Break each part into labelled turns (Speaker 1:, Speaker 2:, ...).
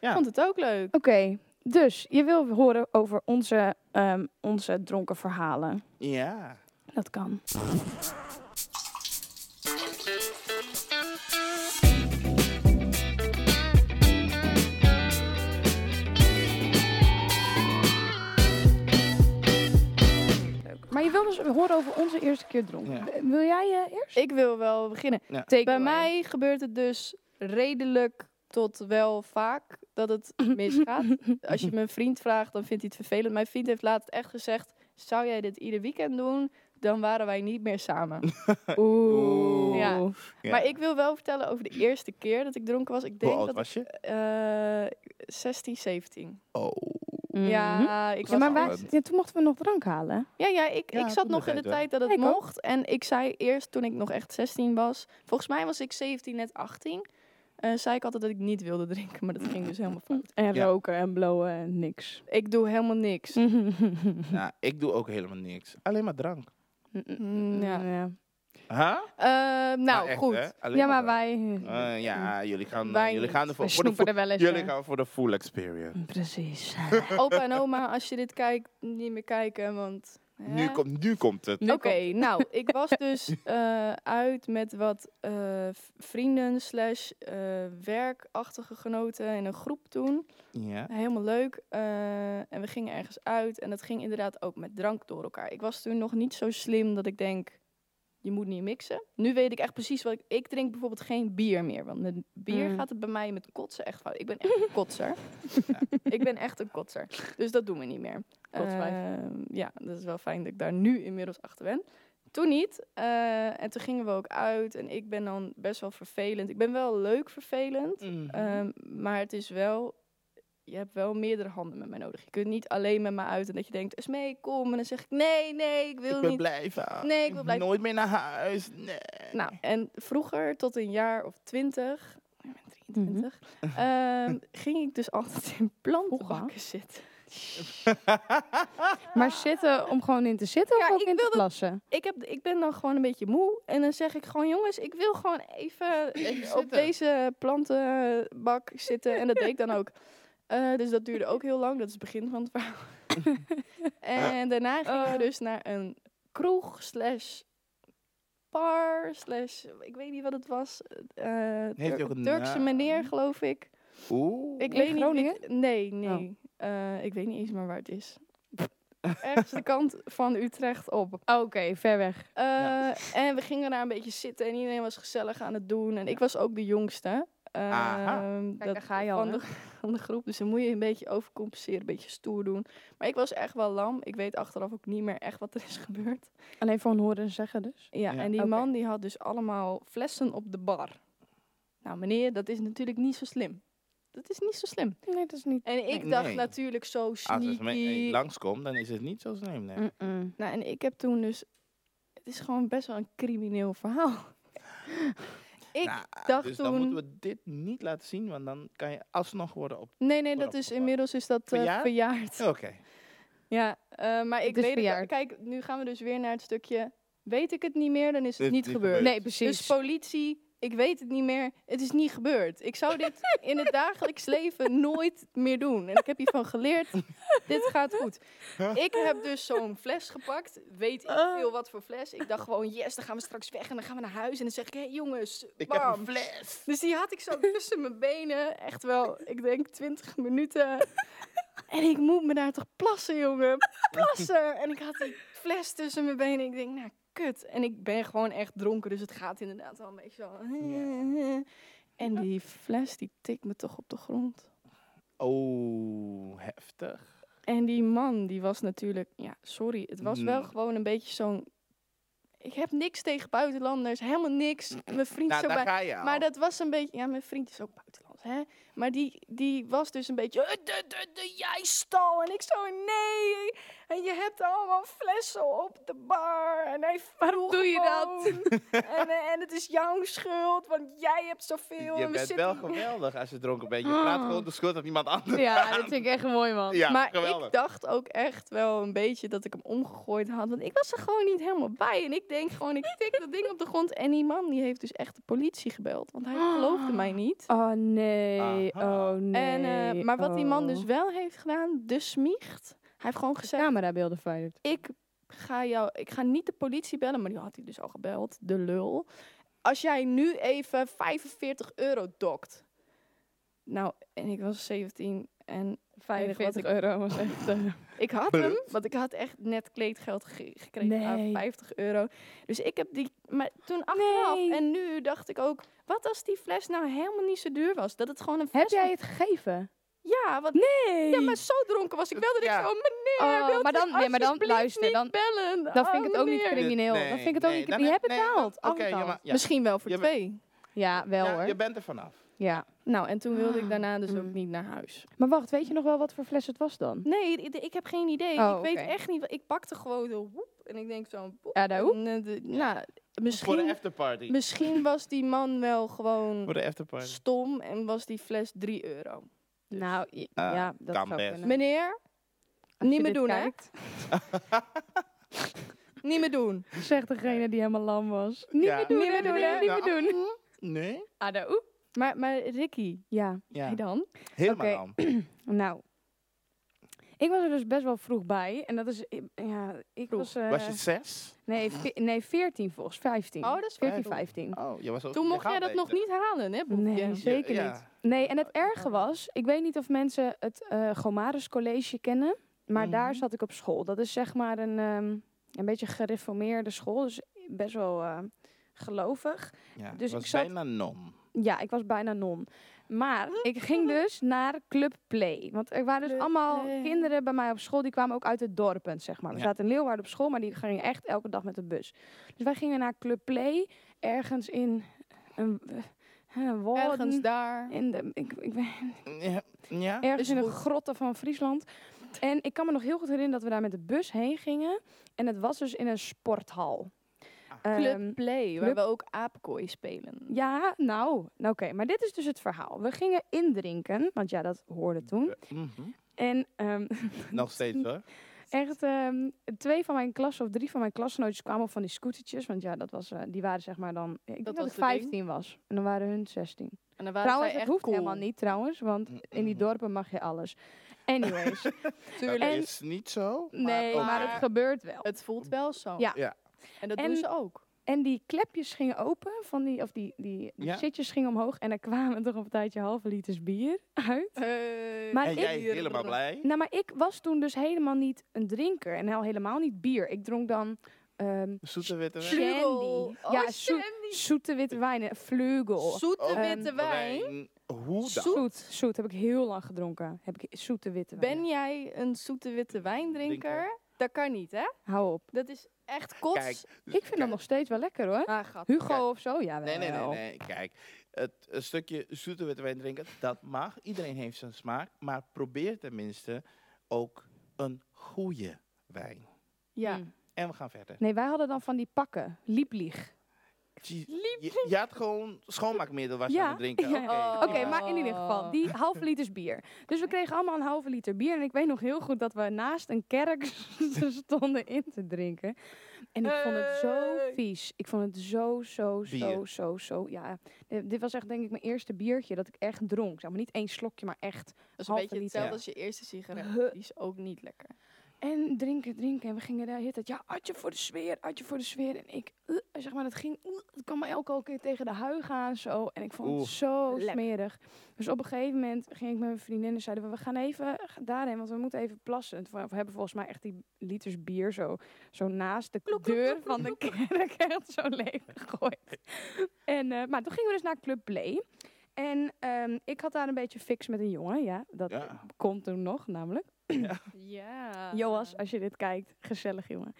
Speaker 1: Ja.
Speaker 2: vond het ook leuk.
Speaker 3: Oké, dus je wil horen over onze, ehm, onze dronken verhalen.
Speaker 1: Ja.
Speaker 3: Dat kan. Leuk. Maar je wil dus horen over onze eerste keer dronken.
Speaker 1: Ja.
Speaker 3: W- Wil jij je eerst?
Speaker 2: Ik wil wel beginnen.
Speaker 1: Ja.
Speaker 3: Take
Speaker 2: Bij
Speaker 3: away.
Speaker 2: mij gebeurt het dus redelijk tot wel vaak dat het misgaat. Als je mijn vriend vraagt, dan vindt hij het vervelend. Mijn vriend heeft laatst echt gezegd, zou jij dit ieder weekend doen? Dan waren wij niet meer samen.
Speaker 3: Oeh.
Speaker 2: Ja.
Speaker 1: Ja.
Speaker 2: Maar ik wil wel vertellen over de eerste keer dat ik dronken was. Ik
Speaker 1: Hoe
Speaker 2: denk
Speaker 1: oud
Speaker 2: dat
Speaker 1: was je?
Speaker 2: ik eh, 16, 17.
Speaker 1: Oh.
Speaker 3: Mhm.
Speaker 2: Ja, ik
Speaker 3: Ja,
Speaker 2: was
Speaker 3: maar
Speaker 2: al-
Speaker 3: wij,
Speaker 1: Spannend.
Speaker 3: ja, toen mochten we nog drank halen.
Speaker 2: ja, ja, ik,
Speaker 1: Ja,
Speaker 2: ik zat
Speaker 1: toen
Speaker 2: nog in de
Speaker 1: begrepen.
Speaker 2: tijd dat het
Speaker 3: Ik ook.
Speaker 2: mocht. En ik zei eerst toen ik nog echt 16 was. Volgens mij was ik 17, net 18. eh, zei ik altijd dat ik niet wilde drinken, maar dat ging dus helemaal fout.
Speaker 3: En
Speaker 1: Ja.
Speaker 3: roken en blowen en niks.
Speaker 2: Ik doe helemaal niks.
Speaker 1: Nou, ik doe ook helemaal niks. Alleen maar drank.
Speaker 2: Mm, ja.
Speaker 3: Ja.
Speaker 1: Huh?
Speaker 2: Eh, nou,
Speaker 1: echt,
Speaker 2: goed.
Speaker 1: hè? Alleen
Speaker 3: Ja, maar
Speaker 1: drank.
Speaker 3: wij...
Speaker 1: Eh, ja, jullie gaan,
Speaker 2: Wij
Speaker 1: jullie
Speaker 2: niet.
Speaker 1: gaan
Speaker 3: Wij
Speaker 1: ervoor. Voor de
Speaker 3: snoepen
Speaker 1: full,
Speaker 3: er wel eens.
Speaker 1: jullie
Speaker 3: hè.
Speaker 1: gaan voor de full experience.
Speaker 3: Precies.
Speaker 2: eh, Opa en oma, als je dit kijkt, niet meer kijken, want...
Speaker 1: Nu,
Speaker 2: hè?
Speaker 1: komt, nu komt het.
Speaker 3: Nu
Speaker 2: Oké, nou, ik was dus eh, uit met wat eh, v- vrienden slash eh, werkachtige genoten in een groep toen.
Speaker 1: Ja.
Speaker 2: Nou, Helemaal leuk. eh, en we gingen ergens uit. En dat ging inderdaad ook met drank door elkaar. Ik was toen nog niet zo slim dat ik denk, je moet niet mixen. Nu weet ik echt precies wat ik... Ik drink bijvoorbeeld geen bier meer. Want met bier
Speaker 3: Mm.
Speaker 2: gaat het bij mij met kotsen echt fout. Ik ben echt een kotser. Ja, ik ben echt een kotser. Dus dat doen we niet meer.
Speaker 3: Kotswijf.
Speaker 2: Ehm, ja, dat is wel fijn dat ik daar nu inmiddels achter ben. Toen niet. eh, en toen gingen we ook uit. En ik ben dan best wel vervelend. Ik ben wel leuk vervelend. Ehm, maar het is wel, je hebt wel meerdere handen met mij nodig. Je kunt niet alleen met me uit en dat je denkt, Esmee, kom. En dan zeg ik, nee, nee, ik wil
Speaker 1: ik wil
Speaker 2: niet.
Speaker 1: blijven.
Speaker 2: Nee, ik wil blijven.
Speaker 1: Nooit meer naar huis. Nee.
Speaker 2: Nou, en vroeger, tot een jaar of twintig, oh, ik ben 23, ehm, ging ik dus altijd in plantenbakken zitten.
Speaker 3: Maar zitten om gewoon in te zitten of
Speaker 2: Ja,
Speaker 3: ook
Speaker 2: ik
Speaker 3: in te
Speaker 2: wilde-
Speaker 3: plassen?
Speaker 2: Ik, heb, ik ben dan gewoon een beetje moe. En dan zeg ik gewoon, jongens, ik wil gewoon even eh, op
Speaker 1: Zitten.
Speaker 2: deze plantenbak zitten. En dat deed ik dan ook. Eh, dus dat duurde ook heel lang. Dat is het begin van het verhaal. en daarna gingen we
Speaker 3: Oh.
Speaker 2: dus naar een kroeg slash bar slash... Ik weet niet wat het was. Eh,
Speaker 1: Heeft
Speaker 2: Tur-
Speaker 1: ook een
Speaker 2: Turkse
Speaker 1: naam?
Speaker 2: meneer, geloof ik.
Speaker 1: Oeh.
Speaker 2: Ik
Speaker 3: In
Speaker 2: weet niet. wie
Speaker 3: Groningen? Oh.
Speaker 2: het- nee, nee. Eh, ik weet niet eens meer waar het is. Ergens de kant van Utrecht op.
Speaker 3: Oh, Oké, ver weg.
Speaker 2: Eh,
Speaker 1: Ja.
Speaker 2: En we gingen daar een beetje zitten en iedereen was gezellig aan het doen. En ik was ook de jongste. Ehm,
Speaker 1: Aha.
Speaker 2: dat-
Speaker 3: daar ga je al,
Speaker 2: van,
Speaker 3: hè?
Speaker 2: de, van de groep. Dus dan moet je een beetje overcompenseren, een beetje stoer doen. Maar ik was echt wel lam. Ik weet achteraf ook niet meer echt wat er is gebeurd.
Speaker 3: Alleen van horen en zeggen dus.
Speaker 2: Ja,
Speaker 1: Ja.
Speaker 2: en die
Speaker 3: Oké.
Speaker 2: man die had dus allemaal flessen op de bar. Nou meneer, dat is natuurlijk niet zo slim. Dat is niet zo slim.
Speaker 3: Nee, dat is niet...
Speaker 2: En ik
Speaker 1: Nee.
Speaker 2: dacht
Speaker 1: Nee.
Speaker 2: natuurlijk zo
Speaker 1: Als
Speaker 2: sneaky.
Speaker 1: het me- eh, langskomt, dan is het niet zo slim. Nee.
Speaker 3: Mm-mm.
Speaker 2: Nou, en ik heb toen dus... Het is gewoon best wel een crimineel verhaal. ik
Speaker 1: Nou,
Speaker 2: dacht
Speaker 1: dus dan
Speaker 2: toen...
Speaker 1: moeten we dit niet laten zien, want dan kan je alsnog worden op...
Speaker 2: Nee, nee, dat
Speaker 1: Wordt
Speaker 2: is
Speaker 1: opgepakt.
Speaker 2: inmiddels is dat eh,
Speaker 1: Verjaard?
Speaker 2: verjaard.
Speaker 1: Oké.
Speaker 2: Ja, eh, maar ik
Speaker 3: Het is
Speaker 2: weet het, wel-
Speaker 3: verjaard.
Speaker 2: Kijk, nu gaan we dus weer naar het stukje... Weet ik het niet meer, dan is het
Speaker 1: Dit
Speaker 2: niet
Speaker 1: niet
Speaker 2: gebeurd.
Speaker 1: gebeurd.
Speaker 3: Nee, precies.
Speaker 2: Dus politie, ik weet het niet meer, het is niet gebeurd. Ik zou dit in het dagelijks leven nooit meer doen. En ik heb hiervan geleerd, dit gaat goed. Ik heb dus zo'n fles gepakt, weet ik veel wat voor fles. Ik dacht gewoon, yes, dan gaan we straks weg en dan gaan we naar huis. En dan zeg ik, hé hey, jongens,
Speaker 1: Ik heb
Speaker 2: bam.
Speaker 1: een fles.
Speaker 2: Dus die had ik zo tussen mijn benen, echt wel, ik denk 20 minuten. En ik moet me daar toch plassen, jongen. Plassen! En ik had die fles tussen mijn benen. Ik denk, nou, kut. En ik ben gewoon echt dronken, dus het gaat inderdaad wel een beetje zo. En die fles, die tikt me toch op de grond.
Speaker 1: Oh, heftig.
Speaker 2: En die man, die was natuurlijk... Ja, sorry, het was wel
Speaker 1: Mm.
Speaker 2: gewoon een beetje zo'n... Ik heb niks tegen buitenlanders, helemaal niks. Mijn vriend
Speaker 1: Nou,
Speaker 2: zo
Speaker 1: daar
Speaker 2: bij...
Speaker 1: ga je al.
Speaker 2: Maar dat was een beetje... Ja, mijn vriend is ook buitenlands, hè? Maar die, die was dus een beetje... "Eh, de- de- de- jij stal! En ik zo, nee! En je hebt allemaal flessen op de bar. En hij vroeg
Speaker 3: doe je dat?"
Speaker 2: dat? En, eh, en het is jouw schuld, want jij hebt zoveel.
Speaker 1: je
Speaker 2: en we
Speaker 1: bent
Speaker 2: zitten
Speaker 1: wel
Speaker 2: hier."
Speaker 1: geweldig als je dronken bent. Je praat gewoon de schuld aan iemand anders.
Speaker 3: Ja, dat vind ik echt mooi, man.
Speaker 1: Ja,
Speaker 2: maar
Speaker 1: geweldig.
Speaker 2: ik dacht ook echt wel een beetje dat ik hem omgegooid had. Want ik was er gewoon niet helemaal bij. En ik denk gewoon, ik tik dat ding op de grond. En die man die heeft dus echt de politie gebeld. Want hij geloofde mij niet.
Speaker 3: Oh, nee.
Speaker 1: Aha.
Speaker 3: Oh, nee.
Speaker 2: En eh, maar wat die man
Speaker 3: Oh.
Speaker 2: dus wel heeft gedaan, de smiecht. Hij heeft gewoon gezegd,
Speaker 3: Camerabeelden verwijderd.
Speaker 2: ik ga jou, ik ga niet de politie bellen, maar die had hij dus al gebeld, de lul. Als jij nu even 45 euro dokt. Nou, en ik was 17 en
Speaker 3: 45
Speaker 2: 45
Speaker 3: euro was echt... eh.
Speaker 2: ik had hem, want ik had echt net kleedgeld ge- gekregen, aan
Speaker 3: Nee.
Speaker 2: 50 euro. Dus ik heb die, maar toen achteraf
Speaker 3: Nee.
Speaker 2: en nu dacht ik ook, wat als die fles nou helemaal niet zo duur was? Dat het gewoon een fles
Speaker 3: Heb jij
Speaker 2: van-
Speaker 3: het gegeven?
Speaker 2: Ja, want
Speaker 3: Nee!
Speaker 2: ja, maar zo dronken was ik wel dat ik
Speaker 1: Ja.
Speaker 2: zo, meneer,
Speaker 3: Oh,
Speaker 2: wilt
Speaker 3: maar
Speaker 2: u
Speaker 3: dan- nee, maar dan-
Speaker 2: alsjeblieft
Speaker 3: luister,
Speaker 2: niet
Speaker 3: dan-
Speaker 2: bellen.
Speaker 3: Dan
Speaker 2: Oh,
Speaker 3: vind ik het ook niet
Speaker 2: meneer."
Speaker 3: crimineel.
Speaker 1: Nee,
Speaker 3: dan vind ik het ook
Speaker 1: nee,
Speaker 3: niet...
Speaker 1: dan-
Speaker 3: je hebt
Speaker 1: nee, dan-
Speaker 3: betaald.
Speaker 1: oké,
Speaker 3: altijd
Speaker 1: ja,
Speaker 3: al.
Speaker 1: maar- ja.
Speaker 2: Misschien wel voor
Speaker 1: Je bent-
Speaker 2: twee.
Speaker 3: Ja, wel
Speaker 1: Ja,
Speaker 3: hoor.
Speaker 1: je bent er vanaf.
Speaker 3: Ja.
Speaker 2: Nou, en toen wilde ik
Speaker 3: Ah,
Speaker 2: daarna dus
Speaker 3: mm.
Speaker 2: ook niet naar huis.
Speaker 3: Maar wacht, weet je nog wel wat voor fles het was dan?
Speaker 2: Nee, ik, ik heb geen idee.
Speaker 3: Oh,
Speaker 2: ik weet
Speaker 3: oké.
Speaker 2: echt niet. wat- Ik pakte gewoon zo woep. En ik denk zo... Woep,
Speaker 3: Ja, daar hoep.
Speaker 2: en, eh, de- nou,
Speaker 1: Voor de
Speaker 2: misschien,
Speaker 1: afterparty.
Speaker 2: misschien was die man wel gewoon
Speaker 1: Voor de afterparty.
Speaker 2: stom en was die fles 3 euro. Dus-
Speaker 3: Nou, i-
Speaker 1: Ah,
Speaker 3: ja, dat
Speaker 1: kan
Speaker 3: zou
Speaker 1: best.
Speaker 3: kunnen.
Speaker 2: Meneer,
Speaker 3: Als
Speaker 2: niet
Speaker 3: je
Speaker 2: meer
Speaker 3: dit
Speaker 2: doen, hè?
Speaker 3: kijkt,
Speaker 2: niet meer doen.
Speaker 3: Zegt degene die helemaal lam was. Niet
Speaker 1: Ja.
Speaker 3: meer doen,
Speaker 2: Niet
Speaker 3: hè, Ah, nou,
Speaker 2: meer doen,
Speaker 3: meneer,
Speaker 2: hè?
Speaker 3: Niet meer doen.
Speaker 1: Nee?
Speaker 3: Adaoe.
Speaker 2: Maar, maar Ricky,
Speaker 3: Ja,
Speaker 1: Ja,
Speaker 2: hij dan?
Speaker 1: helemaal
Speaker 3: Oké.
Speaker 1: lam.
Speaker 3: nou. Ik was er dus best wel vroeg bij. En dat is... i- Ja, ik
Speaker 2: Vroeg.
Speaker 3: was... eh,
Speaker 1: Was je zes?
Speaker 3: nee, ve- nee, 14 volgens 15.
Speaker 2: Oh, dat is
Speaker 3: 14,
Speaker 1: vrij
Speaker 3: 15.
Speaker 1: Oh, je was ook
Speaker 2: Toen mocht jij
Speaker 1: gaat
Speaker 2: dat nog
Speaker 1: beter.
Speaker 2: niet halen,
Speaker 3: Nee,
Speaker 2: hè? broekje?
Speaker 3: zeker
Speaker 1: Ja, ja.
Speaker 3: niet. Nee, en het erge was, ik weet niet of mensen het eh Gomarus College kennen, maar daar
Speaker 1: Mhm.
Speaker 3: zat ik op school. Dat is zeg maar een, ehm, een beetje gereformeerde school, dus best wel eh, gelovig.
Speaker 1: Ja,
Speaker 3: Dus
Speaker 1: dus was
Speaker 3: ik zat-
Speaker 1: bijna non.
Speaker 3: Ja, ik was bijna non. Maar ik ging dus naar Club Play. Want er waren dus
Speaker 2: Club
Speaker 3: allemaal
Speaker 2: Play.
Speaker 3: kinderen bij mij op school. Die kwamen ook uit de dorpen, zeg maar. We
Speaker 1: Ja.
Speaker 3: zaten in Leeuwarden op school, maar die gingen echt elke dag met de bus. Dus wij gingen naar Club Play, ergens in een, eh, een
Speaker 2: Ergens daar.
Speaker 3: In de, ik, ik,
Speaker 1: Ja, ja.
Speaker 3: ergens
Speaker 2: Is
Speaker 3: in een
Speaker 2: goed.
Speaker 3: grotte van Friesland. En ik kan me nog heel goed herinneren dat we daar met de bus heen gingen. En het was dus in een sporthal.
Speaker 1: Ah.
Speaker 3: Ehm,
Speaker 2: Club Play, waar
Speaker 3: Club-
Speaker 2: we ook aapkooi spelen.
Speaker 3: ja, nou, nou, oké. Maar dit is dus het verhaal. We gingen indrinken, want ja, dat hoorde toen.
Speaker 1: Mhm.
Speaker 3: En ehm,
Speaker 1: Nog steeds hoor.
Speaker 3: echt ehm, twee van mijn klas of drie van mijn klasgenootjes kwamen op van die scootertjes. Want ja, dat was, eh, die waren zeg maar dan... Ik denk dat,
Speaker 2: was
Speaker 3: ik
Speaker 2: de ding.
Speaker 3: 15 was. En dan waren hun 16.
Speaker 2: En dan waren
Speaker 3: trouwens, het
Speaker 2: zij echt
Speaker 3: hoeft
Speaker 2: cool.
Speaker 3: helemaal niet trouwens. Want in die
Speaker 1: Mhm.
Speaker 3: dorpen mag je alles. Anyways.
Speaker 1: Dat
Speaker 2: Tuurlijk.
Speaker 3: En-
Speaker 1: is niet zo.
Speaker 3: nee, maar,
Speaker 2: maar-
Speaker 3: het gebeurt wel.
Speaker 2: Het voelt wel zo.
Speaker 3: Ja.
Speaker 1: Ja.
Speaker 2: En dat
Speaker 3: En-
Speaker 2: doen ze ook.
Speaker 3: En die klepjes gingen open, van die, of die, die, die
Speaker 1: Ja.
Speaker 3: zitjes gingen omhoog. En er kwamen toch op een tijdje halve liters bier uit. Eh,
Speaker 2: Eh,
Speaker 3: Maar
Speaker 1: en
Speaker 3: ik-
Speaker 1: jij helemaal blij.
Speaker 3: Nou, maar ik was toen dus helemaal niet een drinker. En al helemaal niet bier. Ik dronk dan ehm,
Speaker 1: Zoete witte wijn.
Speaker 3: Shandy.
Speaker 2: Vlugel. Oh,
Speaker 3: Ja, zoet-
Speaker 2: Shandy.
Speaker 3: zoete witte wijnen. Vleugel.
Speaker 2: Zoete
Speaker 1: Oh,
Speaker 2: witte
Speaker 3: ehm,
Speaker 2: wijn.
Speaker 1: Hoe dan?
Speaker 3: Zoet. Zoet heb ik heel lang gedronken. Heb ik zoete witte wijn.
Speaker 2: Ben jij een zoete witte wijndrinker?
Speaker 1: Drinker.
Speaker 2: Dat kan niet, hè?
Speaker 3: Hou op.
Speaker 2: Dat is echt kots.
Speaker 1: Kijk,
Speaker 3: Ik vind dat nog steeds wel lekker hoor.
Speaker 2: Ah, gat.
Speaker 3: Hugo
Speaker 1: Kijk.
Speaker 3: of zo, ja wel.
Speaker 1: Nee, nee, nee, nee. Kijk, het een stukje zoete witte wijn drinken, dat mag. Iedereen heeft zijn smaak. Maar probeer tenminste ook een goede wijn.
Speaker 2: Ja.
Speaker 3: Mm.
Speaker 1: En we gaan verder.
Speaker 3: Nee, wij hadden dan van die pakken. Lieplieg.
Speaker 1: Je, je, je had gewoon schoonmaakmiddel was je
Speaker 3: Ja,
Speaker 1: aan het drinken.
Speaker 3: ja.
Speaker 1: Oké,
Speaker 2: Oh.
Speaker 3: Oké,
Speaker 1: prima.
Speaker 3: maar in ieder geval, die halve liters bier. Dus we kregen allemaal een halve liter bier. En ik weet nog heel goed dat we naast een kerk stonden in te drinken. En ik vond het zo
Speaker 2: Hey.
Speaker 3: vies. Ik vond het zo, zo, zo,
Speaker 1: Bier.
Speaker 3: zo, zo. Ja, Eh, dit dit was echt denk ik mijn eerste biertje dat ik echt dronk. Zeg maar niet één slokje, maar echt.
Speaker 2: Dat is een
Speaker 3: Halve
Speaker 2: beetje
Speaker 3: liter.
Speaker 2: hetzelfde
Speaker 1: Ja.
Speaker 2: als je eerste sigaret.
Speaker 3: Huh.
Speaker 2: Die is ook niet lekker.
Speaker 3: En drinken, drinken. En we gingen daar de hele tijd, ja, atje voor de sfeer, atje voor de sfeer. En ik, eh, zeg maar, dat ging, eh, het kwam me elke al keer tegen de huig aan zo. En ik vond
Speaker 1: Oeh.
Speaker 3: het zo
Speaker 2: Lekker.
Speaker 3: smerig. Dus op een gegeven moment ging ik met mijn vriendin en zeiden we, we gaan even daarheen, want we moeten even plassen. En toen- We hebben volgens mij echt die liters bier zo, zo naast de
Speaker 2: Kloek, kloek,
Speaker 3: deur
Speaker 2: kloek,
Speaker 3: van de kerk echt zo leeg gegooid. en, eh, maar toen gingen we dus naar Club Play. En ehm, ik had daar een beetje fix met een jongen, ja. Dat
Speaker 1: Ja.
Speaker 3: komt toen nog, namelijk.
Speaker 2: Ja.
Speaker 3: Joas, als je dit kijkt, gezellig jongen.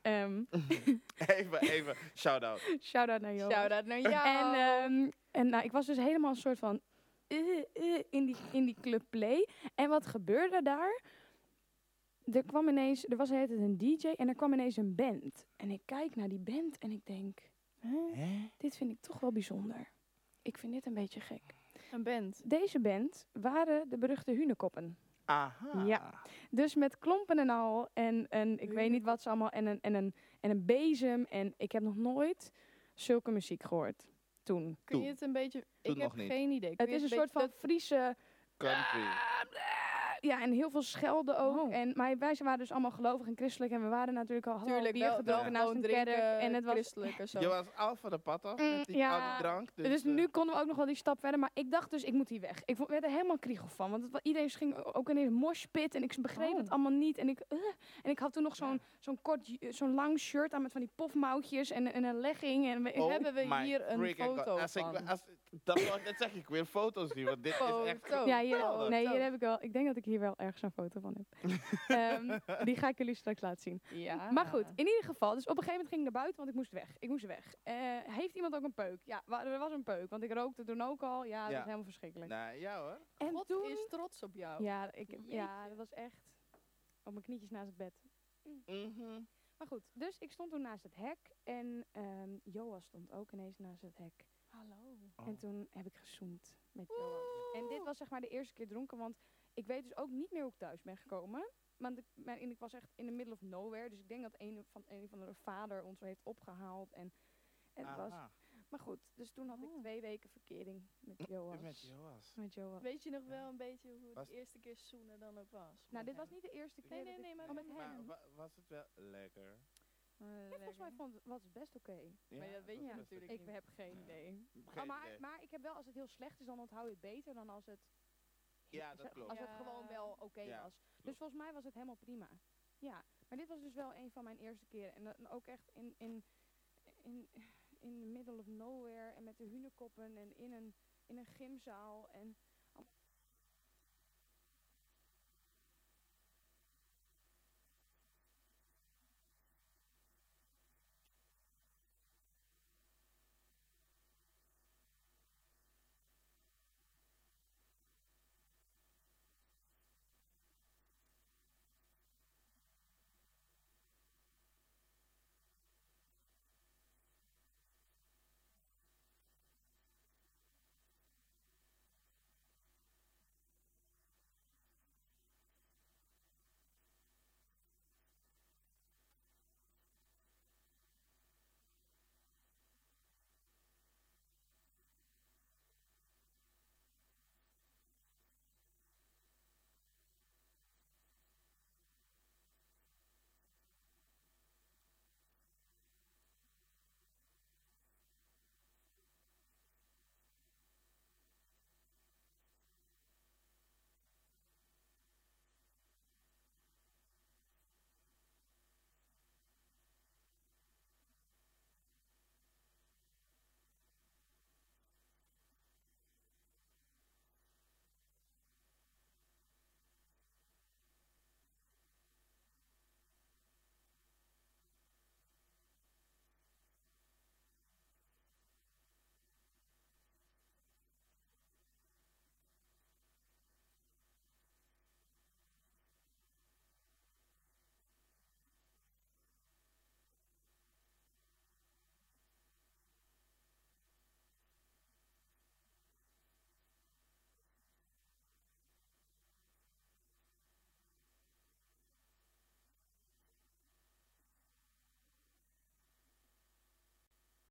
Speaker 3: Ehm
Speaker 1: Even, even, shout-out.
Speaker 3: Shout-out naar Joas.
Speaker 2: Shout-out naar jou.
Speaker 3: En, ehm, en nou, ik was dus helemaal een soort van eh, eh, in, die, in die club play. En wat gebeurde daar? Er kwam ineens, er was de hele tijd een DJ en er kwam ineens een band. En ik kijk naar die band en ik denk, huh,
Speaker 1: Hè?
Speaker 3: dit vind ik toch wel bijzonder. Ik vind dit een beetje gek.
Speaker 2: een band.
Speaker 3: Deze band waren de beruchte Hunekoppen.
Speaker 1: Aha.
Speaker 3: Ja. Dus met klompen en al. En, en ik weet niet wat ze allemaal. En een, en, een, en een bezem. En ik heb nog nooit zulke muziek gehoord. Toen.
Speaker 2: Kun je
Speaker 1: Toen.
Speaker 2: het een beetje...
Speaker 1: Toen
Speaker 2: ik heb
Speaker 1: nog niet.
Speaker 2: geen idee. Kun
Speaker 3: Het
Speaker 2: je
Speaker 3: is een
Speaker 2: het
Speaker 3: soort van
Speaker 2: beetje-
Speaker 3: Friese eh,
Speaker 1: country.
Speaker 3: Ja, en heel veel schelden ook.
Speaker 2: Oh.
Speaker 3: En, maar wij waren dus allemaal gelovig en christelijk. En we waren natuurlijk al hadden al
Speaker 2: Tuurlijk,
Speaker 3: bier
Speaker 2: wel, wel
Speaker 3: gedronken naast
Speaker 2: gewoon
Speaker 3: een kerk.
Speaker 2: drinken,
Speaker 3: En het was...
Speaker 2: christelijk en zo.
Speaker 1: Je was al van de pad af
Speaker 3: Mm,
Speaker 1: met die
Speaker 3: ja.
Speaker 1: oude drank. Dus,
Speaker 3: Dus,
Speaker 1: eh,
Speaker 3: nu konden we ook nog wel die stap verder. Maar ik dacht dus, ik moet hier weg. Ik vo- werd er helemaal kriegel van. Want het wa- iedereen ging o- ook ineens moshpit. En ik begreep
Speaker 2: Oh.
Speaker 3: het allemaal niet. En ik, eh. en ik had toen nog zo'n zo'n kort, ju- zo'n lang shirt aan met van die pofmouwtjes. En, en een legging. En we-
Speaker 1: oh
Speaker 2: hebben we
Speaker 1: my
Speaker 2: hier een
Speaker 1: freaking god.
Speaker 2: foto
Speaker 1: Als ik-
Speaker 2: van?
Speaker 1: als- dat, wou ik net zeggen, ik wil foto's zien, want dit is echt...
Speaker 2: Foto.
Speaker 3: ja, hier,
Speaker 1: geweldig.
Speaker 3: nee, hier
Speaker 2: Zo.
Speaker 3: heb ik wel. Ik denk dat ik hier wel ergens een foto van heb. Ehm, die ga ik jullie straks laten zien.
Speaker 2: Ja.
Speaker 3: Maar goed, in ieder geval. Dus op een gegeven moment ging ik naar buiten, want ik moest weg. Ik moest weg. Eh, heeft iemand ook een peuk? Ja, wa- er was een peuk. Want ik rookte toen ook al. Ja, dat
Speaker 1: Ja.
Speaker 3: was helemaal verschrikkelijk.
Speaker 1: Nou, ja hoor.
Speaker 3: en
Speaker 2: God
Speaker 3: toen...
Speaker 2: is trots op jou.
Speaker 3: Ja, ik, ja,
Speaker 2: Jeetje.
Speaker 3: dat was echt op mijn knietjes naast het bed.
Speaker 1: Mhm.
Speaker 3: Maar goed, dus ik stond toen naast het hek. En ehm Joas stond ook ineens naast het hek.
Speaker 2: Hallo.
Speaker 1: Oh.
Speaker 3: En toen heb ik gezoend met Joas. En dit was zeg maar de eerste keer dronken, want ik weet dus ook niet meer hoe ik thuis ben gekomen. Want ik, mijn, en ik was echt in the middle of nowhere. Dus ik denk dat een van een van de vader ons heeft opgehaald. En, en het was,
Speaker 1: Oh. Aha,
Speaker 3: maar goed, dus toen had ik
Speaker 2: Oh.
Speaker 3: twee weken verkering met Joas.
Speaker 1: Met Joas.
Speaker 3: Met Joas.
Speaker 2: Weet je nog wel een beetje hoe het
Speaker 1: Was-
Speaker 2: eerste keer zoenen dan ook was?
Speaker 3: Nou, dit was niet de eerste keer.
Speaker 2: Nee,
Speaker 3: dat
Speaker 2: nee,
Speaker 3: ik-
Speaker 2: nee, maar
Speaker 3: oh,
Speaker 2: met
Speaker 3: met
Speaker 2: hem.
Speaker 3: hem.
Speaker 1: wa- was het wel lekker?
Speaker 3: Ja, volgens mij vond, was het best oké.
Speaker 1: Ja,
Speaker 2: maar dat weet je
Speaker 1: was best
Speaker 2: natuurlijk
Speaker 3: Ik
Speaker 2: niet.
Speaker 3: heb geen idee.
Speaker 1: lekker.
Speaker 3: Oh,
Speaker 1: Geen
Speaker 3: maar,
Speaker 1: idee.
Speaker 3: maar ik heb wel, als het heel slecht is, dan onthoud je het beter dan als het,
Speaker 1: ja, dat klopt.
Speaker 3: als het
Speaker 2: Ja.
Speaker 3: gewoon wel oké
Speaker 1: Ja,
Speaker 3: was. Dus volgens mij was het helemaal prima. Ja, maar dit was dus wel een van mijn eerste keren. En, dat- en ook echt in, in, in, in the middle of nowhere en met de hunenkoppen en in een, in een gymzaal. En